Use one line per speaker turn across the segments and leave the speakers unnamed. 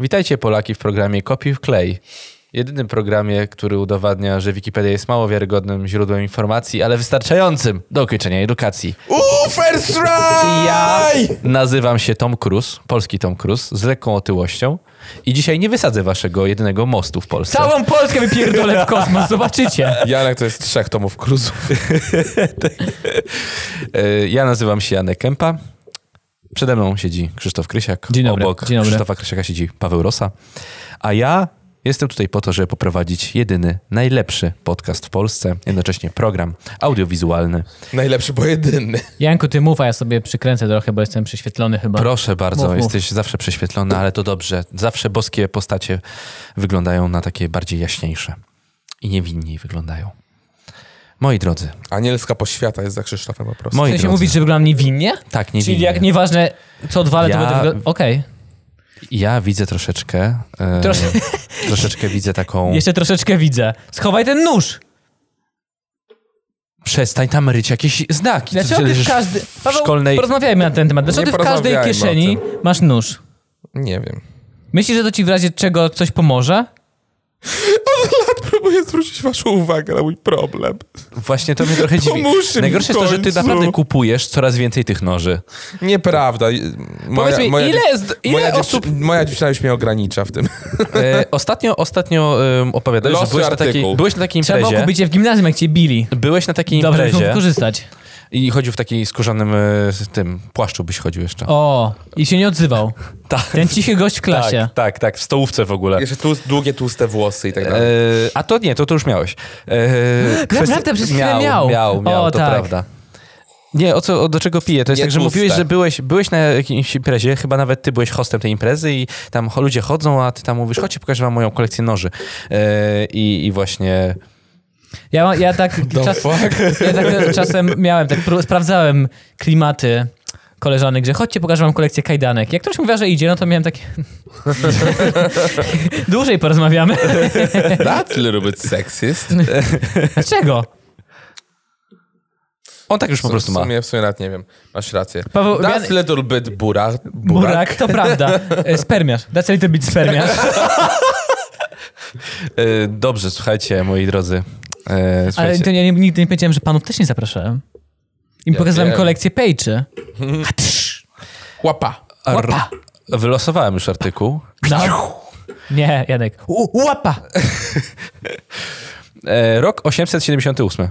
Witajcie Polaki w programie Kopiuj w klej. Jedynym programie, który udowadnia, że Wikipedia jest mało wiarygodnym źródłem informacji, ale wystarczającym do ukończenia edukacji.
Uuu, first try!
Ja nazywam się Tom Cruise, polski Tom Cruise, z lekką otyłością i dzisiaj nie wysadzę waszego jedynego mostu w Polsce.
Całą Polskę wypierdolę w kosmos, zobaczycie.
Janek to jest trzech tomów kruzów.
Tak.
E, Ja nazywam się Janek Kępa. Przede mną siedzi Krzysztof Krysiak.
Dzień dobry,
Obok
dzień dobry.
Krzysztofa Krysiaka siedzi Paweł Rosa. A ja jestem tutaj po to, żeby poprowadzić jedyny, najlepszy podcast w Polsce, jednocześnie program audiowizualny.
Tak.
Najlepszy, bo jedyny.
Janku, ty mów, a ja sobie przykręcę trochę, bo jestem prześwietlony chyba.
Proszę bardzo,
Mów, mów.
jesteś zawsze prześwietlony, ale to dobrze. Zawsze boskie postacie wyglądają na takie bardziej jaśniejsze. I niewinniej wyglądają. Moi drodzy,
Anielska poświata jest za Krzysztofem po prostu.
moi
Chcę się
drodzy.
mówić, że wyglądam niewinnie?
Tak, niewinnie.
Czyli jak nieważne co dwa, ale
Ja-
to będę wyglądał... Okej.
Ja widzę troszeczkę... e,
Trosze-
Troszeczkę widzę taką...
Jeszcze troszeczkę widzę. Schowaj ten nóż!
Przestań tam ryć jakieś znaki. Co
Dlaczego ty
leżysz
w każdy...
w
Paweł,
szkolnej...
porozmawiajmy na ten temat. Dlaczego
Nie
ty w każdej
porozmawiajmy
kieszeni
o
masz nóż?
Nie wiem.
Myślisz, że to ci w razie czego coś pomoże?
Próbuję zwrócić waszą uwagę na mój problem.
Właśnie to mnie trochę dziwi.
Pomóżcie mi
Najgorsze
w
jest to, że ty
końcu.
naprawdę kupujesz coraz więcej tych noży.
Nieprawda.
Powiedz mi, ile,
dziew-
jest, ile
moja, dziew-
osób...
moja dziewczyna już mnie ogranicza w tym.
E, ostatnio ostatnio em, opowiadałeś, że
Losy
byłeś na, takiej,
artykuł.
byłeś na takiej
Trzeba było
imprezie.
kupić je w gimnazjum, jak cię bili.
Byłeś na takiej
Dobrze, muszą
imprezie
wykorzystać.
i chodził w takiej skórzanym e, z tym płaszczu byś chodził jeszcze.
O, i się nie odzywał.
Tak.
Ten cichy gość w klasie.
Tak, tak, tak, w stołówce w ogóle.
Jeszcze tu, długie, tłuste włosy i tak
E,
dalej.
a to nie, to, to już miałeś. E,
No Naprawdę, przez chwilę
miał.
miał.
Miał, miał,
O,
to
tak.
prawda. Nie, o co, o, do czego piję? To jest
Nie
tak, że
tłuste.
mówiłeś, że byłeś, byłeś na jakiejś imprezie, chyba nawet ty byłeś hostem tej imprezy i tam cho- ludzie chodzą, a ty tam mówisz, chodźcie, pokażę wam moją kolekcję noży. E, i, I właśnie...
Ja, ja, tak czas, ja tak czasem miałem, tak pró- sprawdzałem klimaty koleżanek, że chodźcie, pokażę wam kolekcję kajdanek. Jak ktoś mówiła, że idzie, no to miałem takie... Dłużej porozmawiamy.
That's a little bit sexist.
Dlaczego?
On tak już po prostu
W
ma.
sumie, w sumie nawet nie wiem. Masz rację.
Paweł,
That's
mian-
a little bit burak.
Burak, to prawda. E, Spermiarz. That's a little bit spermiarz.
E, dobrze, słuchajcie, moi drodzy. E,
Ale
słuchajcie.
to ja nie, nigdy nie powiedziałem, że panów też nie zapraszałem. Im
Ja
pokazałem
wiem.
kolekcję pejczy.
Łapa.
Ar-
Łapa.
wylosowałem już artykuł.
No. Nie, Janek. U, łapa.
E, rok 878.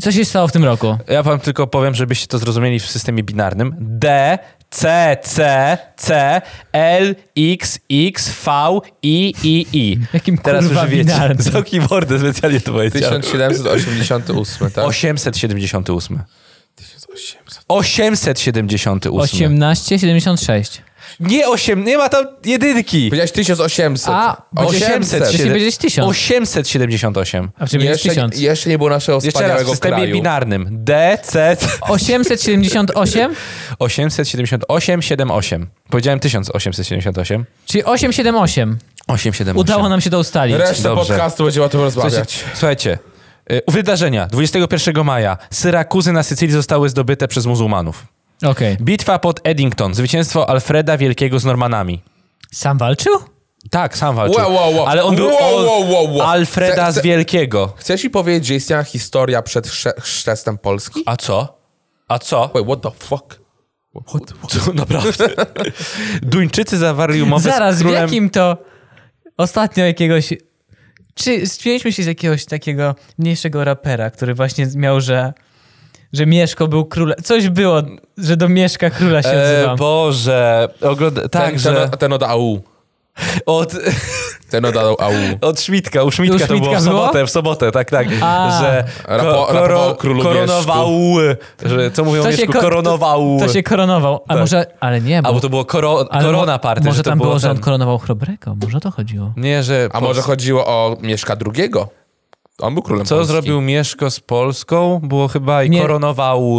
Co się stało w tym roku?
Ja wam tylko powiem, żebyście to zrozumieli w systemie binarnym. D, C, C, C, L, X, X, V, I, I, I.
Jakim
Teraz
kurwa
już wiecie.
binarnym?
Za keyboardy specjalnie to powiedziałem.
1788, tak?
878.
1800.
878.
18, 76.
Nie 8, nie ma tam jedynki.
Powiedziałeś 1800.
A, bo
800.
Chcieliście powiedzieć 1000.
878.
A w czym jest
Jeszcze,
1000?
jeszcze nie było naszego
Jeszcze raz, w
wspaniałego
systemie
kraju.
binarnym. D, C, C
878?
878, 78. Powiedziałem 1878.
Czyli 878.
878.
Udało nam się to ustalić.
Reszta
Dobrze.
podcastu będzie o tym rozmawiać.
Słuchajcie, słuchajcie y, wydarzenia 21 maja. Syrakuzy na Sycylii zostały zdobyte przez muzułmanów.
Okej.
Bitwa pod Eddington. Zwycięstwo Alfreda Wielkiego z Normanami.
Sam walczył?
Tak, sam walczył.
Wow, wow, wow.
Ale on był
Wow,
on-
wow, wow, wow.
Alfreda
Chcę-
z Wielkiego.
Chcesz mi powiedzieć, że istniała historia przed chrze- chrzestem Polski?
A co? A co?
Wait, what the fuck?
Co, naprawdę? Duńczycy zawarli umowę
Zaraz,
z
w
królem...
jakim to ostatnio jakiegoś... Czy zdjęliśmy się z jakiegoś takiego mniejszego rapera, który właśnie miał, że... Że Mieszko był króla. Coś było, że do Mieszka króla się
E,
odzywa.
Boże, ogląda... tak,
Ten,
że
ten, ten od AU.
od,
Ten od AU.
od Szmitka, u Szmitka to,
U Szmitka
było w
było?
sobotę, w sobotę, tak, tak,
A.
że
Rapo- rapował o królu
koronował, że co mówią
To się
Mieszku,
ko-
koronował,
To się koronował. A
Tak.
może... Ale nie, bo...
albo to było koro,
ale mo-
korona party,
Może
że to
tam
było,
było, że on
ten,
koronował Chrobrego. Może o to chodziło.
nie, że
A może chodziło o Mieszka II? On był królem
co
Polski.
zrobił Mieszko z Polską, było chyba i
Nie.
koronował,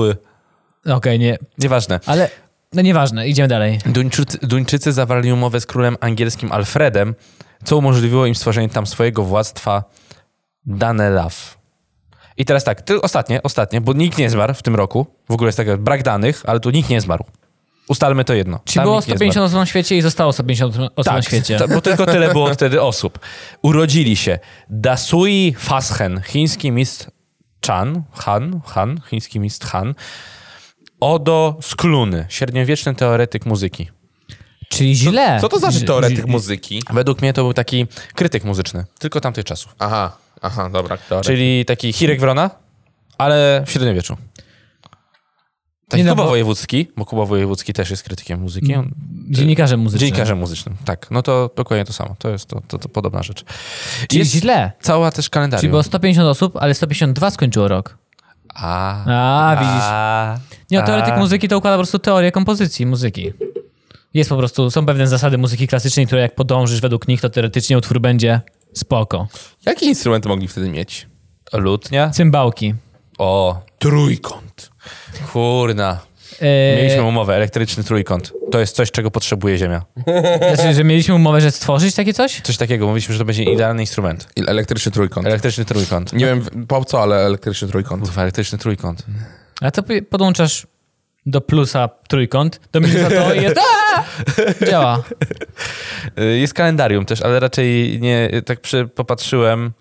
Okej, nie.
nieważne.
Ale no nieważne, idziemy dalej.
Duńczycy, Duńczycy zawarli umowę z królem angielskim Alfredem, co umożliwiło im stworzenie tam swojego władztwa Danelaw. I teraz tak, ty ostatnie, ostatnie, bo nikt nie zmarł w tym roku. W ogóle jest taki brak danych, ale tu nikt nie zmarł. ustalmy to jedno.
Czy
Tam
było
nikt nie zmarł. Tak,
150 osób na świecie i zostało 150 osób na świecie.
to- bo tylko tyle było wtedy osób. Urodzili się Dasui Fashen, chiński mistrz Chan, Han, Han, chiński mistrz Han, Odo Skluny, średniowieczny teoretyk muzyki.
Czyli źle.
Co to znaczy
Ż-
teoretyk
ż-
muzyki?
Według mnie to był taki krytyk muzyczny, tylko tamtych czasów.
Aha, aha, dobra. Czyli...
Czyli taki Hirek Wrona, ale w średniowieczu. Taki
Nie no,
Kuba
bo- Mm,
Wojewódzki, bo Kuba Wojewódzki też jest krytykiem muzyki. On
Dziennikarzem muzycznym.
Dziennikarzem muzycznym, tak. No to dokładnie to samo. To jest to, to, to podobna rzecz.
Czyli
Jest
źle.
cała też
Czyli
kalendarium.
było 150 osób, ale 152 skończyło rok.
A,
A, widzisz. Nie, no, teoretyk
a.
muzyki to układa po prostu teorię kompozycji muzyki. Jest po prostu, są pewne zasady muzyki klasycznej, które jak podążysz według nich, to teoretycznie utwór będzie spoko.
Jakie instrumenty mogli wtedy mieć?
Lutnia?
Cymbałki.
O,
Trójkąt.
kurna.
Yy,
Mieliśmy umowę, elektryczny trójkąt. To jest coś, czego potrzebuje Ziemia.
Znaczy, że mieliśmy umowę, że stworzyć takie coś?
Coś takiego, mówiliśmy, że to będzie idealny instrument.
I Elektryczny trójkąt.
Elektryczny trójkąt.
Nie wiem po co, ale elektryczny trójkąt.
Kurwa, elektryczny trójkąt.
A to pi- podłączasz do plusa trójkąt, do minusa to i jest... Aaa! Działa.
Y, Jest kalendarium też, ale raczej nie, tak przy, popatrzyłem,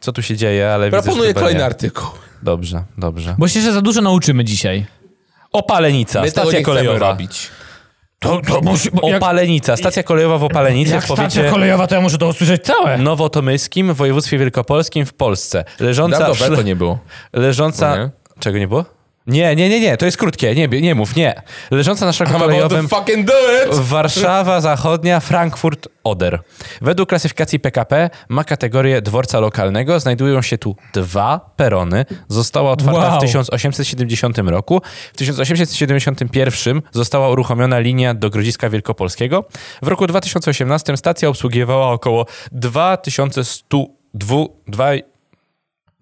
co tu się dzieje, ale widzę,
Proponuję
że chyba
kolejny
nie.
artykuł.
Dobrze, dobrze.
Bo się jeszcze za dużo nauczymy dzisiaj.
Opalenica,
My tego nie
stacja
chcemy
kolejowa.
robić.
To, to musi...
Opalenica, stacja kolejowa w Opalenicy w powiecie
kolejowa, to ja muszę to usłyszeć całe.
nowotomyskim w województwie wielkopolskim w Polsce. Leżąca
Dawno
w szle...
to nie było.
Leżąca.
Nie?
Czego nie było? Nie, nie, nie, nie, to jest krótkie, nie, nie mów, nie. Leżąca na szlaku
I'm about to
kolejowym
fucking do it!
Warszawa Zachodnia, Frankfurt, Oder. Według klasyfikacji PKP ma kategorię dworca lokalnego. Znajdują się tu dwa perony. Została otwarta
Wow.
w 1870 roku. W 1871 została uruchomiona linia do Grodziska Wielkopolskiego. W roku 2018 stacja obsługiwała około 2100 dwu, dwa,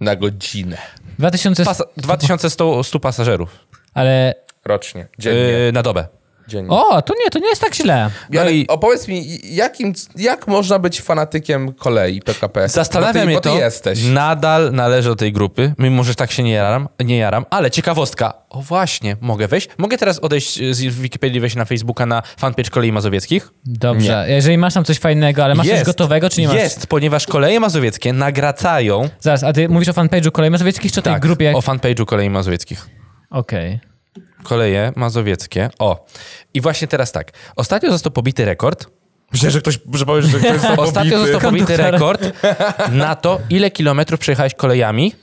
Na godzinę.
2000...
pasa, 2100 stu pasażerów.
Ale...
Rocznie. Dziennie.
Yy, na dobę.
Dziennie.
O, to nie, to nie jest tak źle.
no
Ale
i-
opowiedz mi, jakim, jak można być fanatykiem kolei PKP? bo
Zastanawia
No
ty,
mnie
bo ty
to. Mm.
jesteś.
Nadal należę do tej grupy, mimo że tak się nie jaram, nie jaram, ale ciekawostka. O właśnie, mogę wejść? Mogę teraz odejść e, z Wikipedii, wejść na Facebooka, na fanpage Kolei Mazowieckich?
Dobrze, jeżeli masz tam coś fajnego, ale masz coś gotowego, czy nie masz?
Jest, ponieważ Koleje Mazowieckie nagracają
Zaraz, a ty mówisz o fanpage'u Kolei Mazowieckich, czy o tej
tak,
grupie?
o fanpage'u Kolei Mazowieckich.
Okej.
Koleje Mazowieckie, o. I właśnie teraz tak. Ostatnio został pobity rekord.
Myślę, że ktoś, że powiesz, że ktoś
Tak.
został
Ostatnio
pobity.
został pobity
Konduktor.
rekord na to, ile kilometrów przejechałeś kolejami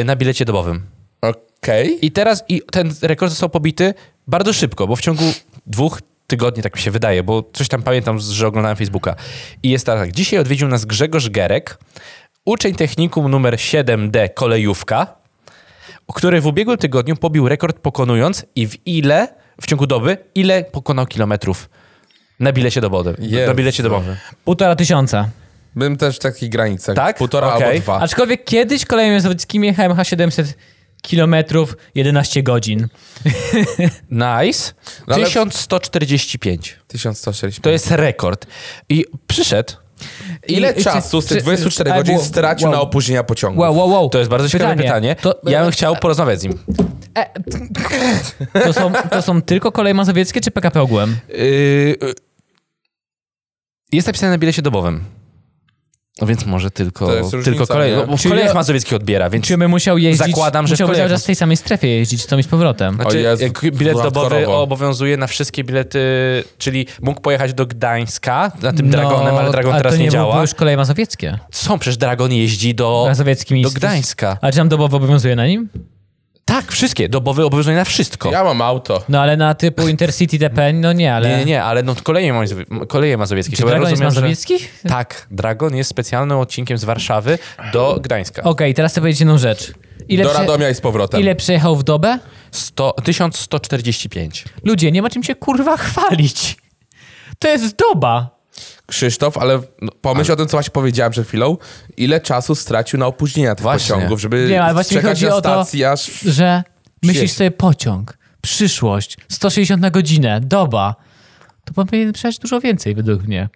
y, na bilecie dobowym.
Okej.
I teraz i ten rekord został pobity bardzo szybko, bo w ciągu dwóch tygodni, tak mi się wydaje, bo coś tam pamiętam, z- że oglądałem Facebooka. I jest tak, dzisiaj odwiedził nas Grzegorz Gerek, uczeń technikum numer 7D kolejówka, który w ubiegłym tygodniu pobił rekord pokonując i w ile, w ciągu doby, ile pokonał kilometrów na bilecie dobowym.
Jezu.
Na bilecie dobowym.
Półtora tysiąca.
Bym też w takich granicach.
Tak?
Półtora
Okej.
albo dwa.
Aczkolwiek kiedyś koleją jazdowieckim jechałem H700 kilometrów 11 godzin.
Nice.
No ale-
1145.
1160.
To jest rekord. I przyszedł.
Ile
I- i-
czasu z
czy-
tych 24
ale
godzin
było-
stracił
wow.
na opóźnienia pociągu?
Wow, wow, wow.
To jest bardzo ciekawe pytanie.
To,
ja bym chciał porozmawiać z nim.
e, to, są, to są tylko koleje mazowieckie czy PKP ogółem?
Yy,
Jest napisane na bilecie dobowym. No więc może tylko,
To jest
tylko
różnica,
kolej.
nie?
No, bo w
Czyli-
kolejach Mazowiecki odbiera, więc
Czy bym musiał jeździć...
Zakładam, że w
musiał
kolejach
cały czas w tej samej strefie jeździć, to mi z powrotem.
znaczy,
O Jezu,
jak bilet dobowy
hardkorowo.
obowiązuje na wszystkie bilety, czyli mógł pojechać do Gdańska na tym
No,
Dragonem, ale Dragon
a
teraz
to
nie,
nie
działa.
były już koleje mazowieckie.
Są, przecież Dragon jeździ do,
Mazowieckim
do
jest-
Gdańska.
A czy tam dobowo obowiązuje na nim?
Tak, wszystkie. Dobowy obowiązuje na wszystko.
Ja mam auto.
No ale na typu Intercity DP, no nie, ale...
Nie, nie, nie, ale no, koleje, mazowie- koleje mazowieckie.
Czy
bo ja
Dragon jest
rozumiem, że-
mazowiecki?
Tak, Dragon jest specjalnym odcinkiem z Warszawy do Gdańska.
Okej, teraz chcę powiedzieć jedną rzecz. Ile,
Do
prze-
Radomia i z powrotem.
ile przejechał w dobę?
100, 1145.
Ludzie, nie ma czym się kurwa chwalić. To jest doba.
Krzysztof, ale no, pomyśl o tym, co właśnie powiedziałem przed chwilą. Ile czasu stracił na opóźnienia tych
Właśnie.
pociągów, żeby
Wiem, ale właśnie mi
czekać
chodzi
na
o to-
stacji aż...
Że myślisz
Siedź.
sobie pociąg, przyszłość, 160 na godzinę, doba. To powinien przejść dużo więcej według mnie.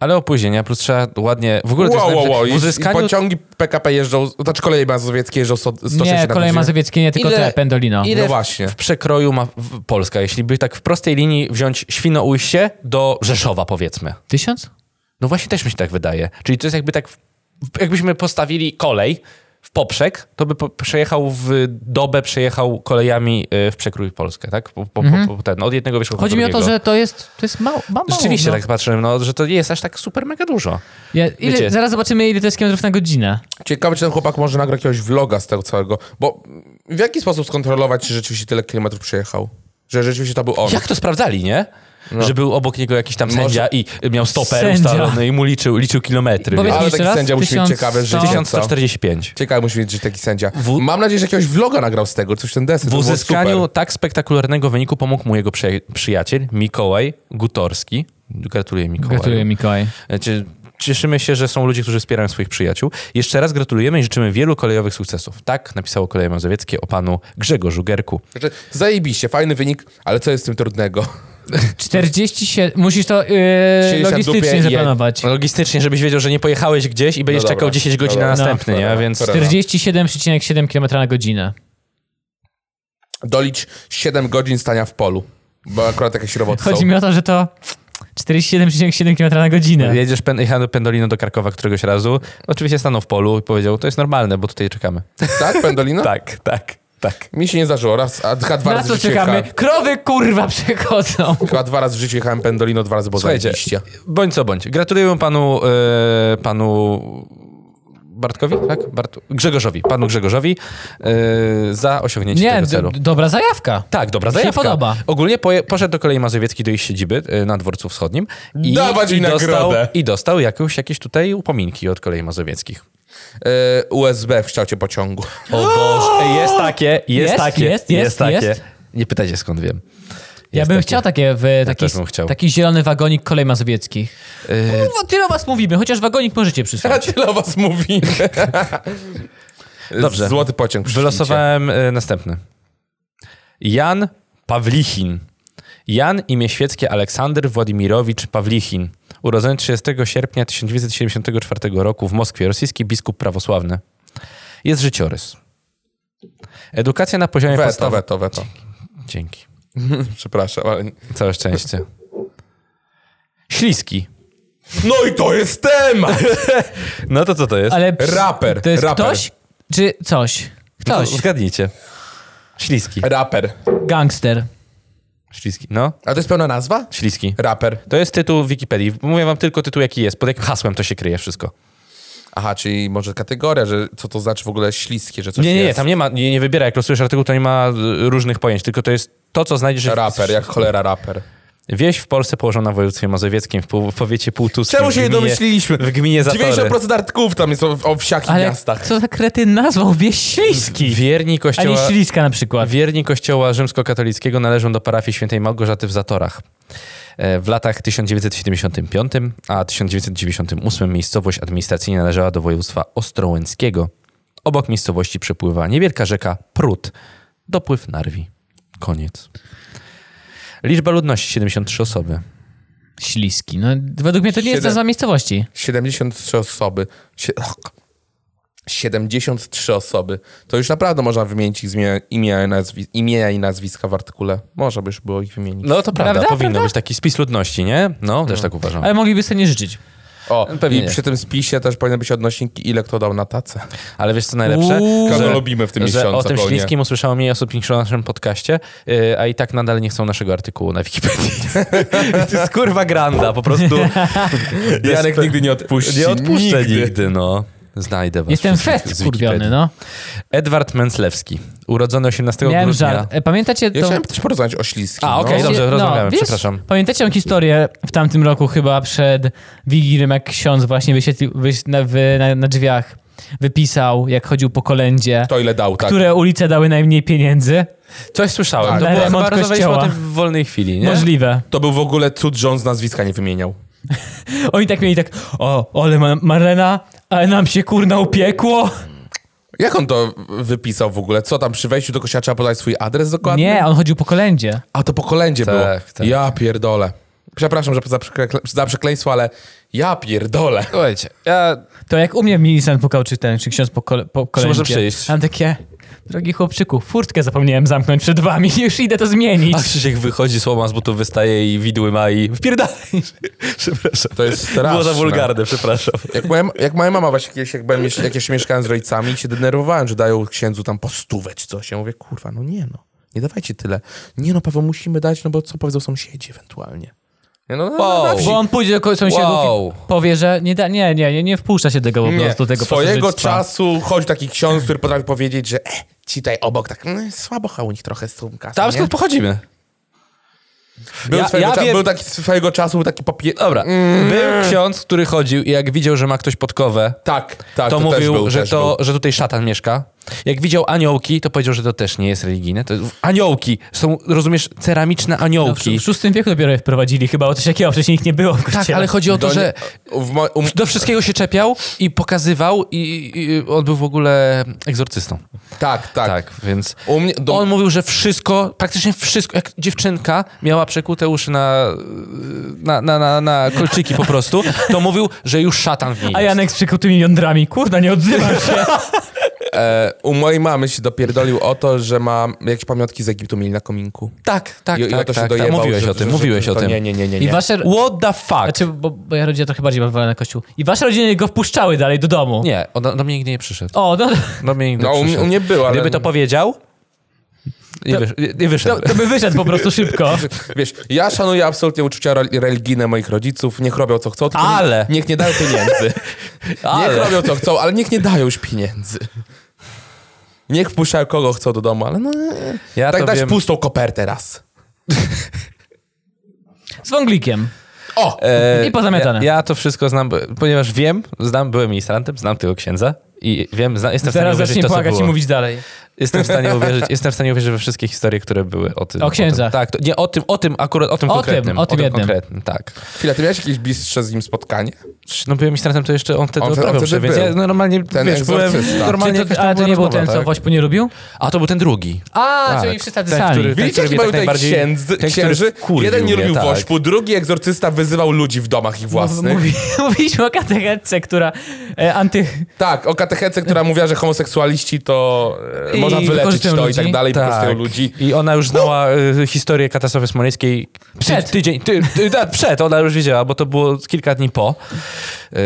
ale opóźnienia, plus trzeba ładnie... W ogóle to jest
Wow, wow,
najlepsze-
wow.
w
I
uzyskaniu...
Pociągi PKP jeżdżą, znaczy koleje mazowieckie jeżdżą sto- 160
Nie,
na
kolej
godzinę.
mazowieckie nie, tylko
Ile-
te, Pendolino.
Ile
No właśnie.
w przekroju ma w- Polska, jeśli by tak w prostej linii wziąć Świnoujście do Rzeszowa, powiedzmy?
Tysiąc?
No właśnie też mi się tak wydaje. Czyli to jest jakby tak, w- jakbyśmy postawili kolej w poprzek, to by po, przejechał w dobę, przejechał kolejami y, w przekrój Polskę, tak? Po, po, po, po, ten, od jednego wierzchu
Mhm. Chodzi
do
mi o
drugiego.
to, że to jest, to jest mało, ma- mało.
Rzeczywiście,
no.
tak patrzyłem, no, że to nie jest aż tak super mega dużo.
Ja, ile,
wiecie.
zaraz zobaczymy, ile to jest kilometrów na godzinę.
Ciekawe, czy ten chłopak może nagra jakiegoś vloga z tego całego, bo w jaki sposób skontrolować, czy rzeczywiście tyle kilometrów przejechał? Że rzeczywiście to był on.
Jak to sprawdzali, nie? Że był obok niego jakiś tam
Może-
sędzia i y, miał stoper
Sędzia.
ustalony i mu liczył, liczył kilometry.
Powiedz
więc-
mi
Ale
jeszcze
taki
raz,
sędzia musi mieć
1100.
ciekawe życie.
1145.
Ciekawe musi mieć taki sędzia.
W-
Mam nadzieję, że jakiegoś vloga nagrał z tego, coś ten deser.
W
to było
uzyskaniu
super.
tak spektakularnego wyniku pomógł mu jego przyja- przyjaciel Mikołaj Gutorski. Gratuluję Mikołaju. E,
Gratuluję, Mikołaj.
Cie- Cieszymy się, że są ludzie, którzy wspierają swoich przyjaciół. Jeszcze raz gratulujemy i życzymy wielu kolejowych sukcesów. Tak napisało Koleje Mazowieckie o panu Grzegorzu Gerku.
Znaczy, zajebiście, fajny wynik, ale co jest z tym trudnego?
47, musisz to yy,
Siedzieć na dupie
logistycznie
i-
zaplanować.
Logistycznie, żebyś wiedział, że nie pojechałeś gdzieś i będziesz
dobra,
czekał 10 godzin
dobra.
na następny,
No,
nie?
dobra,
Więc
dobra.
47,7 km na godzinę.
Dolicz 7 godzin stania w polu, bo akurat jakieś roboty
Chodzi
są.
mi o to, że to 47,7 km na godzinę.
jedziesz pen, jechałem do Pendolino do Krakowa któregoś razu. Oczywiście stanął w polu i powiedział, to jest normalne, bo tutaj czekamy.
Tak, Pendolino?
Tak, tak, tak.
Mi się nie zdarzyło, raz, a dwa, dwa
Na
razy
co
w życiu
czekamy?
jechałem-
Krowy kurwa przechodzą.
Chyba dwa razy w życiu jechałem Pendolino, dwa razy było
Słuchajcie,
zajebiście.
bądź co bądź. Gratulujemy panu, e, panu Bartkowi, tak? Bart... Grzegorzowi, panu Grzegorzowi e, za osiągnięcie
Nie,
tego
d-
celu.
dobra zajawka.
Tak, dobra,
Mi się
zajawka.
podoba.
Ogólnie poje, poszedł do kolei mazowieckiej do ich siedziby e, na dworcu wschodnim i,
Dawać
i,
mi
dostał,
nagrodę.
i dostał jakąś, jakieś tutaj upominki od kolei mazowieckich.
E, USB w kształcie pociągu.
O Boże, jest takie, jest,
Jest,
takie,
jest, jest,
takie.
jest.
Nie pytajcie skąd wiem.
Ja
Jest
bym
takie.
chciał takie w taki,
też bym chciał. Y-
taki zielony wagonik kolej mazowieckich. Kurwa, tyle o was mówimy, chociaż wagonik możecie
Ja
przysłać.
tyle o was mówimy.
Dobrze.
Złoty pociąg. przyszlicie.
Wylosowałem e, następny. Jan Pawlichin. Jan imię świeckie Aleksander Władimirowicz Pawlichin. Urodzony 30 sierpnia 1974 roku w Moskwie, rosyjski biskup prawosławny. Jest życiorys. Edukacja na poziomie
Weto,
podstawowym.
weto, weto.
Dzięki.
Przepraszam, ale...
Całe szczęście. Śliski.
No i to jest temat!
No to co to jest?
Ale ps-
Raper,
To jest
raper.
ktoś czy coś?
No,
Ktoś.
zgadnijcie. Śliski.
Raper.
Gangster.
Śliski. No,
A to jest pełna nazwa?
śliski.
Raper.
To jest tytuł w Wikipedii. Mówię wam tylko tytuł, jaki jest. Pod jakim hasłem to się kryje wszystko.
Aha, czyli może kategoria, że co to znaczy w ogóle śliskie, że coś
nie, nie, nie,
jest.
tam nie ma, nie, nie wybiera, jak losujesz artykuł, to nie ma y, różnych pojęć, tylko to jest to, co znajdziesz...
Raper, jak cholera raper.
Wieś w Polsce położona w województwie mazowieckim, w pół- w powiecie półtuskim.
Czemu się
w
nie
gminie-
domyśliliśmy?
W gminie Zatory.
90% artykułów tam jest o, o wsiach i
Ale
miastach.
co za kretyn nazwał wieś Śliski?
Wierni
A nie
kościoła...
Śliska na przykład.
Wierni kościoła rzymskokatolickiego należą do parafii świętej Małgorzaty w Zatorach. E, W latach 1975 a 1998 miejscowość administracyjnie należała do województwa ostrołęckiego. Obok miejscowości przepływa niewielka rzeka Prut. Dopływ Narwi. Koniec. Liczba ludności 73 osoby.
Śliski. No, według mnie to nie jest
Siedem.
nazwa miejscowości.
73 osoby. Sie... 73 osoby. To już naprawdę można wymienić ich zmienia- imienia i, nazwi... imienia i nazwiska w artykule. Można by już było ich wymienić.
No to prawda,
Prawda,
powinno
prawda?
być taki spis ludności, nie? No, też tak uważam.
Ale mogliby sobie nie życzyć.
O,
pewnie
i
nie.
przy tym spisie też powinien być odnośnik, ile kto dał na tacę.
Ale wiesz co najlepsze?
Uuu.
Że-
Kogo lubimy w
że
tym miesiącu
o tym
ogólnie.
śliskim usłyszało mniej osób niż o naszym podcaście, yy, a i tak nadal nie chcą naszego artykułu na Wikipedii. to jest kurwa granda, po prostu.
Janek nigdy nie odpuści.
nie odpuszczę nigdy, no. Znajdę was.
Jestem
wszystkich
fest
z Wikipedii.
skurwiony, no.
Edward Męclewski, urodzony 18
Miałem
grudnia.
żart. E, Pamiętacie
Ja
to...
chciałem też porozmawiać o śliskim.
A, okej,
no.
dobrze,
Wiecie-
rozmawiamy, przepraszam.
Pamiętacie tą historię w tamtym roku chyba przed Wigilią, jak ksiądz właśnie wyświetlił, wyś, na, wy, na, na drzwiach wypisał, jak chodził po kolędzie,
To ile dał, tak.
które ulice dały najmniej pieniędzy?
Coś słyszałem.
Tak.
to
Na
było,
remont
chyba rozmawialiśmy o
kościoła.
tym w wolnej chwili, nie?
Możliwe.
To był w ogóle cud, że on z nazwiska nie wymieniał.
Oni tak mieli tak, o, ole ma- Marlena, ale nam się kurna upiekło.
Jak on to wypisał w ogóle? Co tam, przy wejściu do kościoła trzeba podać swój adres dokładnie?
Nie, on chodził po kolędzie.
A to po kolędzie
Tak,
było.
tak.
Ja pierdolę. Przepraszam, że za, przekle, za przekleństwo, ale ja pierdolę.
Słuchajcie, ja
To jak u mnie milicjant pukał, czy ten, czy ksiądz po, kole, po kolei.
może przyjść?
Mam takie, drogi chłopczyku, furtkę zapomniałem zamknąć przed wami, już idę to zmienić.
A Krzysiek wychodzi, słoma z butów wystaje i widły ma i wpierdalaj. Przepraszam.
To jest straszne.
Było za wulgarne, przepraszam.
Jak moja, jak moja mama właśnie kiedyś, jak, byłem, jeszcze- jak jeszcze mieszkałem z rodzicami, się denerwowałem, że dają księdzu tam po stówę czy coś. Ja mówię, kurwa, no nie no, nie dawajcie tyle. Nie no, Paweł, musimy dać, no bo co powiedzą sąsiedzi ewentualnie. Nie no, no,
Wow.
na wsi.
Bo on pójdzie do ko- sąsiadów
Wow.
i powie, że nie, da, nie, nie, nie, nie wpuszcza się tego po
nie.
prostu, tego
Swojego
pasożytstwa.
czasu chodzi taki ksiądz, który potrafi powiedzieć, że e, ci tutaj obok tak mm, słabo chał u nich trochę z tą kasą,
Tam
nie?
skąd pochodzimy?
Był,
Ja-
swojego
ja
cza-
wiem-
był taki swojego czasu, był taki popie...
Dobra.
Mm.
Był ksiądz, który chodził i jak widział, że ma ktoś podkowę,
Tak, tak,
to,
też
mówił,
był,
że,
też
to, że tutaj szatan mieszka. Jak widział aniołki, to powiedział, że to też nie jest religijne. To aniołki są, rozumiesz, ceramiczne
No, w,
aniołki.
w VI wieku dopiero je wprowadzili chyba, o coś takiego wcześniej ich nie było w kościele.
tak, ale chodzi o to,
Do-
że
w mo- um-
do wszystkiego się czepiał i pokazywał i, i on był w ogóle egzorcystą.
Tak, tak.
Tak, więc...
U mnie, do,
On mówił, że wszystko, praktycznie wszystko, jak dziewczynka miała przekute uszy na, na, na, na, na kolczyki po prostu, to mówił, że już szatan w niej
A
jest.
Janek z przykrytymi jądrami, kurda, nie odzywam się.
e, u mojej mamy się dopierdolił o to, że ma jakieś pamiątki z Egiptu mieli na kominku.
Tak, tak,
I, i o
tak,
to się
tak, tak.
dojebał,
Mówiłeś
że,
o tym,
że,
mówiłeś
że,
o
to
tym.
Nie, nie, nie, nie.
I
nie.
wasze...
What the fuck?
Znaczy, bo, bo ja rodzina trochę bardziej bawała na kościół. I wasze rodziny go wpuszczały dalej do domu.
Nie, on do, do mnie nigdy nie przyszedł.
O, no,
Do mnie nigdy
No, u mnie,
przyszedł.
u mnie było, ale...
Gdyby to powiedział, nie, wysz, nie, nie
to,
wyszedł.
to by wyszedł po prostu szybko.
no, Wiesz, ja szanuję absolutnie uczucia re- religijne moich rodziców, niech robią co chcą, tylko
Ale.
niech nie dają pieniędzy.
Ale.
Niech robią co chcą, ale niech nie dają już pieniędzy. Niech wpuszczają kogo chcą do domu, ale no...
Ja
tak
to
dać
wiem.
pustą kopertę raz.
Z wąglikiem.
O!
E,
I pozamiatane.
Ja, ja to wszystko znam, bo- ponieważ wiem, znam, byłem ministrantem, znam tego księdza i wiem, zna, jestem w stanie
Zaraz
uwierzyć
zacznie
to, co
płakać i
było.
mówić dalej.
Jestem w stanie uwierzyć, jestem w stanie uwierzyć we wszystkie historie, które były o tym.
O księdzach.
tym. Tak, to, nie o tym, o tym akurat, o tym
O
konkretnym.
tym, o tym jednym.
konkretnym, tak.
Chwila, ty miałeś jakieś bliższe z nim spotkanie?
No byłem ministrantem, to jeszcze on wtedy
On wtedy-
odprawiał
wtedy
się, więc
był.
ja no, normalnie,
Ten
wiesz, byłem
egzorcysta.
normalnie
Czy
jakaś
to,
tam
ale to
była
nie był ten,
rozmowa,
co
tak.
Wośpu nie lubił?
A to był ten drugi.
A,
Tak.
czyli wszyscy tacy
Ten,
sami.
który-
Widzicie, jaki
mnie
mają
tak
tutaj
najbardziej-
księdzy?
ten, który
księży?
wkurwił
Jeden nie
mnie,
lubił
tak. No,
wośpu, drugi egzorcysta wyzywał ludzi w domach ich własnych.
Mówi, mówiliśmy o katechetce, która e, anty...
Tak, o katechetce, która mówiła, że homoseksualiści to e,
I
można wyleczyć
wykorzystują
to i
ludzi.
tak dalej,
Tak.
wykorzystują ludzi.
I ona już znała y, historię katastrofy smoleńskiej
Przed.
Ty, tydzień, ty, ty, tak, przed, ona już wiedziała, bo to było kilka dni po. Y,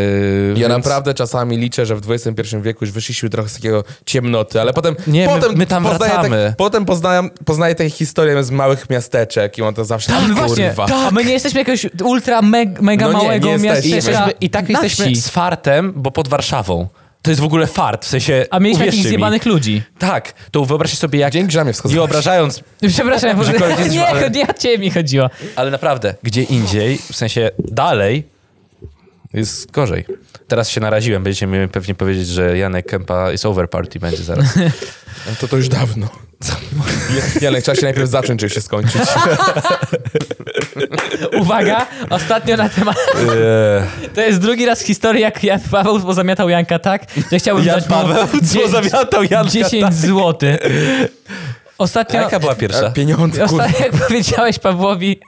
więc-
Ja naprawdę czasami liczę, że w XXI wieku już wyszliśmy trochę z takiego ciemnoty, ale potem...
Nie, my-
potem
my tam
poznaję
wracamy.
Te, potem poznaję, poznaję tę historię z małych miasteczek i on to zawsze...
Tak,
A my
kurwa.
Tak, właśnie, a my nie jesteśmy jakiegoś ultra meg, mega
No nie, nie
małego
jesteśmy.
miasteczka
Jesteśmy, I tak
na
jesteśmy
wsi.
z fartem, bo pod Warszawą. To jest w ogóle fart, w sensie.
A mieliśmy
uwierzcie
takich
mi.
zjebanych ludzi.
Tak, to wyobraźcie sobie, jak.
Dzięki, że na mnie wskazałeś.
Nie obrażając,
Przepraszam,
Że koleś
nie,
jest
nie,
zjebany.
to nie o ciebie mi chodziło.
ale naprawdę, gdzie indziej, w sensie dalej, jest gorzej. Teraz się naraziłem, będziecie mi pewnie powiedzieć, że Janek Kempa is over party będzie zaraz.
To to już dawno. Nie, nie, ale trzeba się najpierw zacząć, żeby się skończyć.
Uwaga, ostatnio na temat... To jest drugi raz w historii, jak Jan Paweł pozamiatał Janka tak, że chciałbym
Jan
dać mu
Paweł
dzie-
pozamiatał Janka tak?
10 złotych. Ostatnio...
Jaka była pierwsza?
E, Pieniądze, kurwa.
Ostatnio jak powiedziałeś Pawłowi,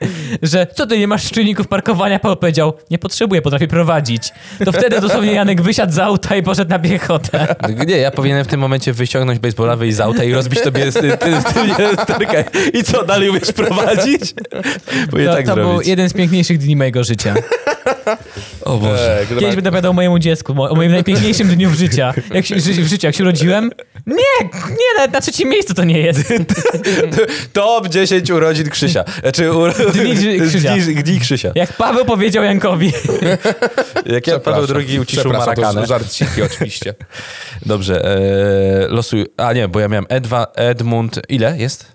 że co ty nie masz czujników parkowania, Paweł powiedział, nie potrzebuję, potrafię prowadzić. To wtedy dosłownie Janek wysiadł z auta i poszedł na piechotę.
Nie, ja powinienem w tym momencie wyciągnąć baseballa, wyjść z auta i rozbić tobie ty, ty, I co, dalej umiesz prowadzić? Bo je
To,
tak
to był
zrobić.
jeden z piękniejszych dni mojego życia.
O Boże.
E,
Kiedyś będę opowiadał mojemu dziecku mo- o moim najpiękniejszym dniu w życiu. Jak się, ży, w życiu, jak się urodziłem? Nie, nie, nawet na trzecim miejscu to nie jest.
Top 10 urodzin Krzysia. Znaczy, u...
Dni Krzy- Krzysia.
Dni, dni Krzysia.
Jak Paweł powiedział Jankowi.
Jak ja Paweł II uciszył
Przepraszam, to
Marakanę.
już żart cichy oczywiście.
Dobrze, e, losuj. A nie, bo ja miałem Edwa, Edmund. Ile jest?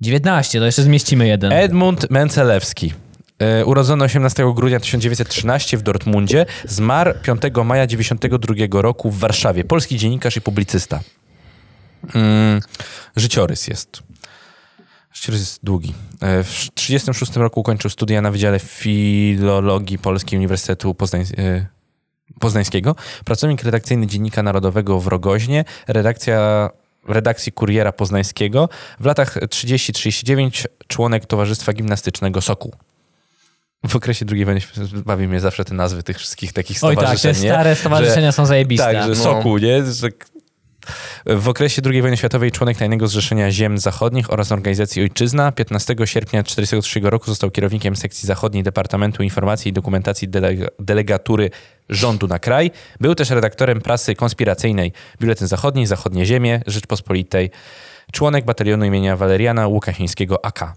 19, to jeszcze zmieścimy jeden.
Edmund Mencelewski. E, Urodzony 18 grudnia 1913 w Dortmundzie, zmarł 5 maja 1992 roku w Warszawie. Polski dziennikarz i publicysta. Mm, życiorys jest. Życiorys jest długi. E, W 1936 roku ukończył studia na Wydziale Filologii Polskiej Uniwersytetu Poznań, e, Poznańskiego. Pracownik redakcyjny Dziennika Narodowego w Rogoźnie, redakcja redakcji Kuriera Poznańskiego, w latach 30-39 członek Towarzystwa Gimnastycznego Sokół. w okresie II wojny światowej bawi mnie zawsze te nazwy tych wszystkich takich
Oj tak,
stowarzyszeń.
te
nie?
stare stowarzyszenia są zajebiste.
Tak, że
No.
soku, nie? Że... W okresie II wojny światowej członek Tajnego Zrzeszenia Ziem Zachodnich oraz Organizacji Ojczyzna 15 sierpnia 1943 roku został kierownikiem sekcji zachodniej Departamentu Informacji i Dokumentacji Delega- Delegatury Rządu na Kraj. Był też redaktorem prasy konspiracyjnej Biuletyn Zachodni, Zachodnie Ziemie, Rzeczpospolitej. Członek batalionu imienia Waleriana Łukasińskiego AK.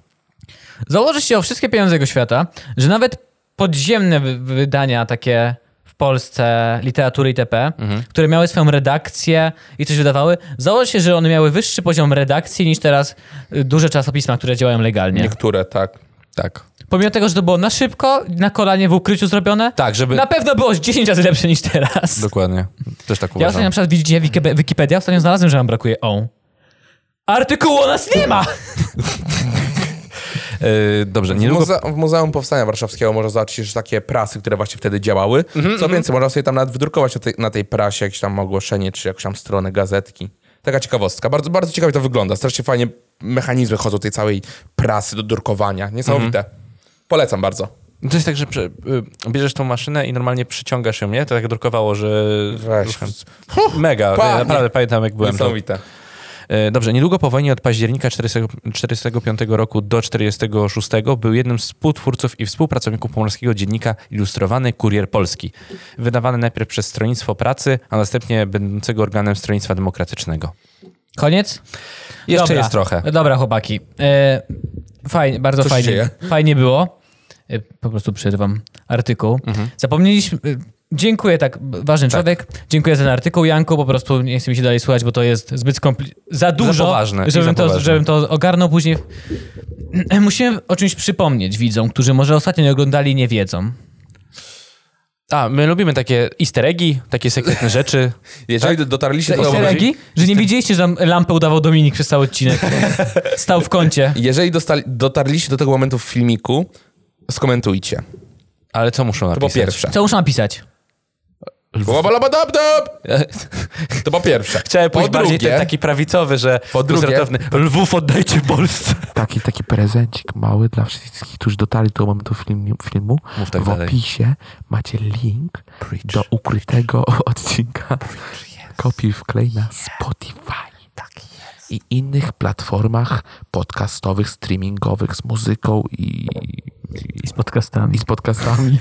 Założy się o wszystkie pieniądze jego świata, że nawet podziemne wy- wydania takie w Polsce literatury itp.,
Mhm.
które miały swoją redakcję i coś wydawały, założy się, że one miały wyższy poziom redakcji niż teraz y, duże czasopisma, które działają legalnie.
Niektóre, tak. Tak.
Pomimo tego, że to było na szybko, na kolanie w ukryciu zrobione,
Tak, żeby...
na pewno było z 10 razy lepsze niż teraz.
Dokładnie. Też tak
Ja
uważam.
ostatnio na przykład widzicie Wikiped- Wikipedia, ostatnio znalazłem, że nam brakuje on. Artykułu o nas nie ma!
E, dobrze,
W,
niedługo...
muze- w Muzeum Powstania Warszawskiego można zobaczyć już takie prasy, które właśnie wtedy działały. Co więcej, można sobie tam nawet wydrukować na tej, na tej prasie jakieś tam ogłoszenie, czy jakąś tam stronę gazetki. Taka ciekawostka. Bardzo, bardzo ciekawie to wygląda. Strasznie fajnie mechanizmy chodzą tej całej prasy do drukowania. Niesamowite. Polecam bardzo.
To jest tak, że prze- y, bierzesz tą maszynę i normalnie przyciągasz ją, nie? To tak drukowało, że...
Weź.
ruchem. Mega,
Panie.
naprawdę pamiętam jak byłem. To.
Niesamowite.
Y, Dobrze, niedługo po wojnie od października 1945 roku do 46 był jednym z współtwórców i współpracowników pomorskiego dziennika Ilustrowany Kurier Polski, wydawany najpierw przez Stronnictwo Pracy, a następnie będącego organem Stronnictwa Demokratycznego.
Koniec?
Jeszcze
Dobra.
jest trochę.
Dobra, chłopaki. E, fajnie, bardzo
Co się dzieje?
fajnie. Fajnie było. E, po prostu przerywam artykuł.
Mhm.
Zapomnieliśmy. e, Dziękuję, tak, b- ważny człowiek. Dziękuję za ten artykuł, Janku. Po prostu nie chcę mi się dalej słuchać, bo to jest zbyt skompli... za dużo,
poważne i za
żebym, to,
poważne.
żebym to ogarnął później. Musimy o czymś przypomnieć widzom, którzy może ostatnio nie oglądali i nie wiedzą.
A, my lubimy takie easter eggi, takie sekretne rzeczy.
Jeżeli dotarliście do
Easter
tego
eggi? Że nie widzieliście, że tam lampę udawał Dominik przez cały odcinek. Stał w kącie.
Jeżeli dostali, dotarliście do tego momentu w filmiku, skomentujcie.
Ale co muszą
To po
napisać?
pierwsze.
Co muszę napisać?
Łabalabadabdab! To po pierwsze.
Chciałem
po
pójść bardziej
drugie,
ten taki prawicowy, że
Po drugie-
luzratowny, Lwów oddajcie Polsce.
taki, taki prezencik mały dla wszystkich, którzy dotarli do momentu filmu. filmu.
Mów tak
w
dalej.
opisie macie link do ukrytego odcinka. Kopiuj wklej na Spotify. I innych platformach podcastowych, streamingowych z muzyką i,
Z podcastami.
i z podcastami.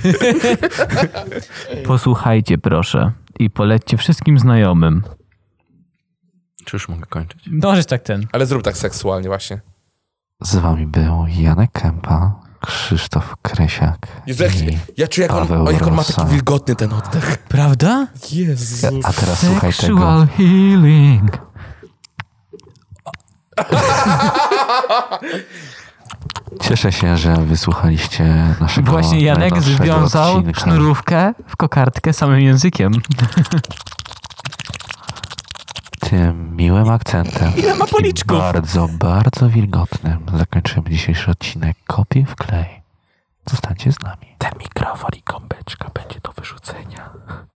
Posłuchajcie proszę i polećcie wszystkim znajomym.
Czy już mogę kończyć?
Dążysz tak ten.
Ale zrób tak seksualnie właśnie.
Z wami był Janek Kępa, Krzysztof Kresiak.
Jezu, jak, ja czuję, jak on,
Paweł
o, jak on ma
Rosa.
taki wilgotny ten oddech.
Prawda?
Jezu.
A teraz
healing.
Cieszę się, że wysłuchaliście
No,
naszego
Właśnie Janek
najnowszego
związał
odcinka.
sznurówkę w kokardkę samym językiem.
Tym miłym akcentem. Ile ma policzków? Bardzo, bardzo wilgotnym zakończymy dzisiejszy odcinek. Kopiuj w klej. Zostańcie z nami. Ten mikrofon i gąbeczka będzie do wyrzucenia.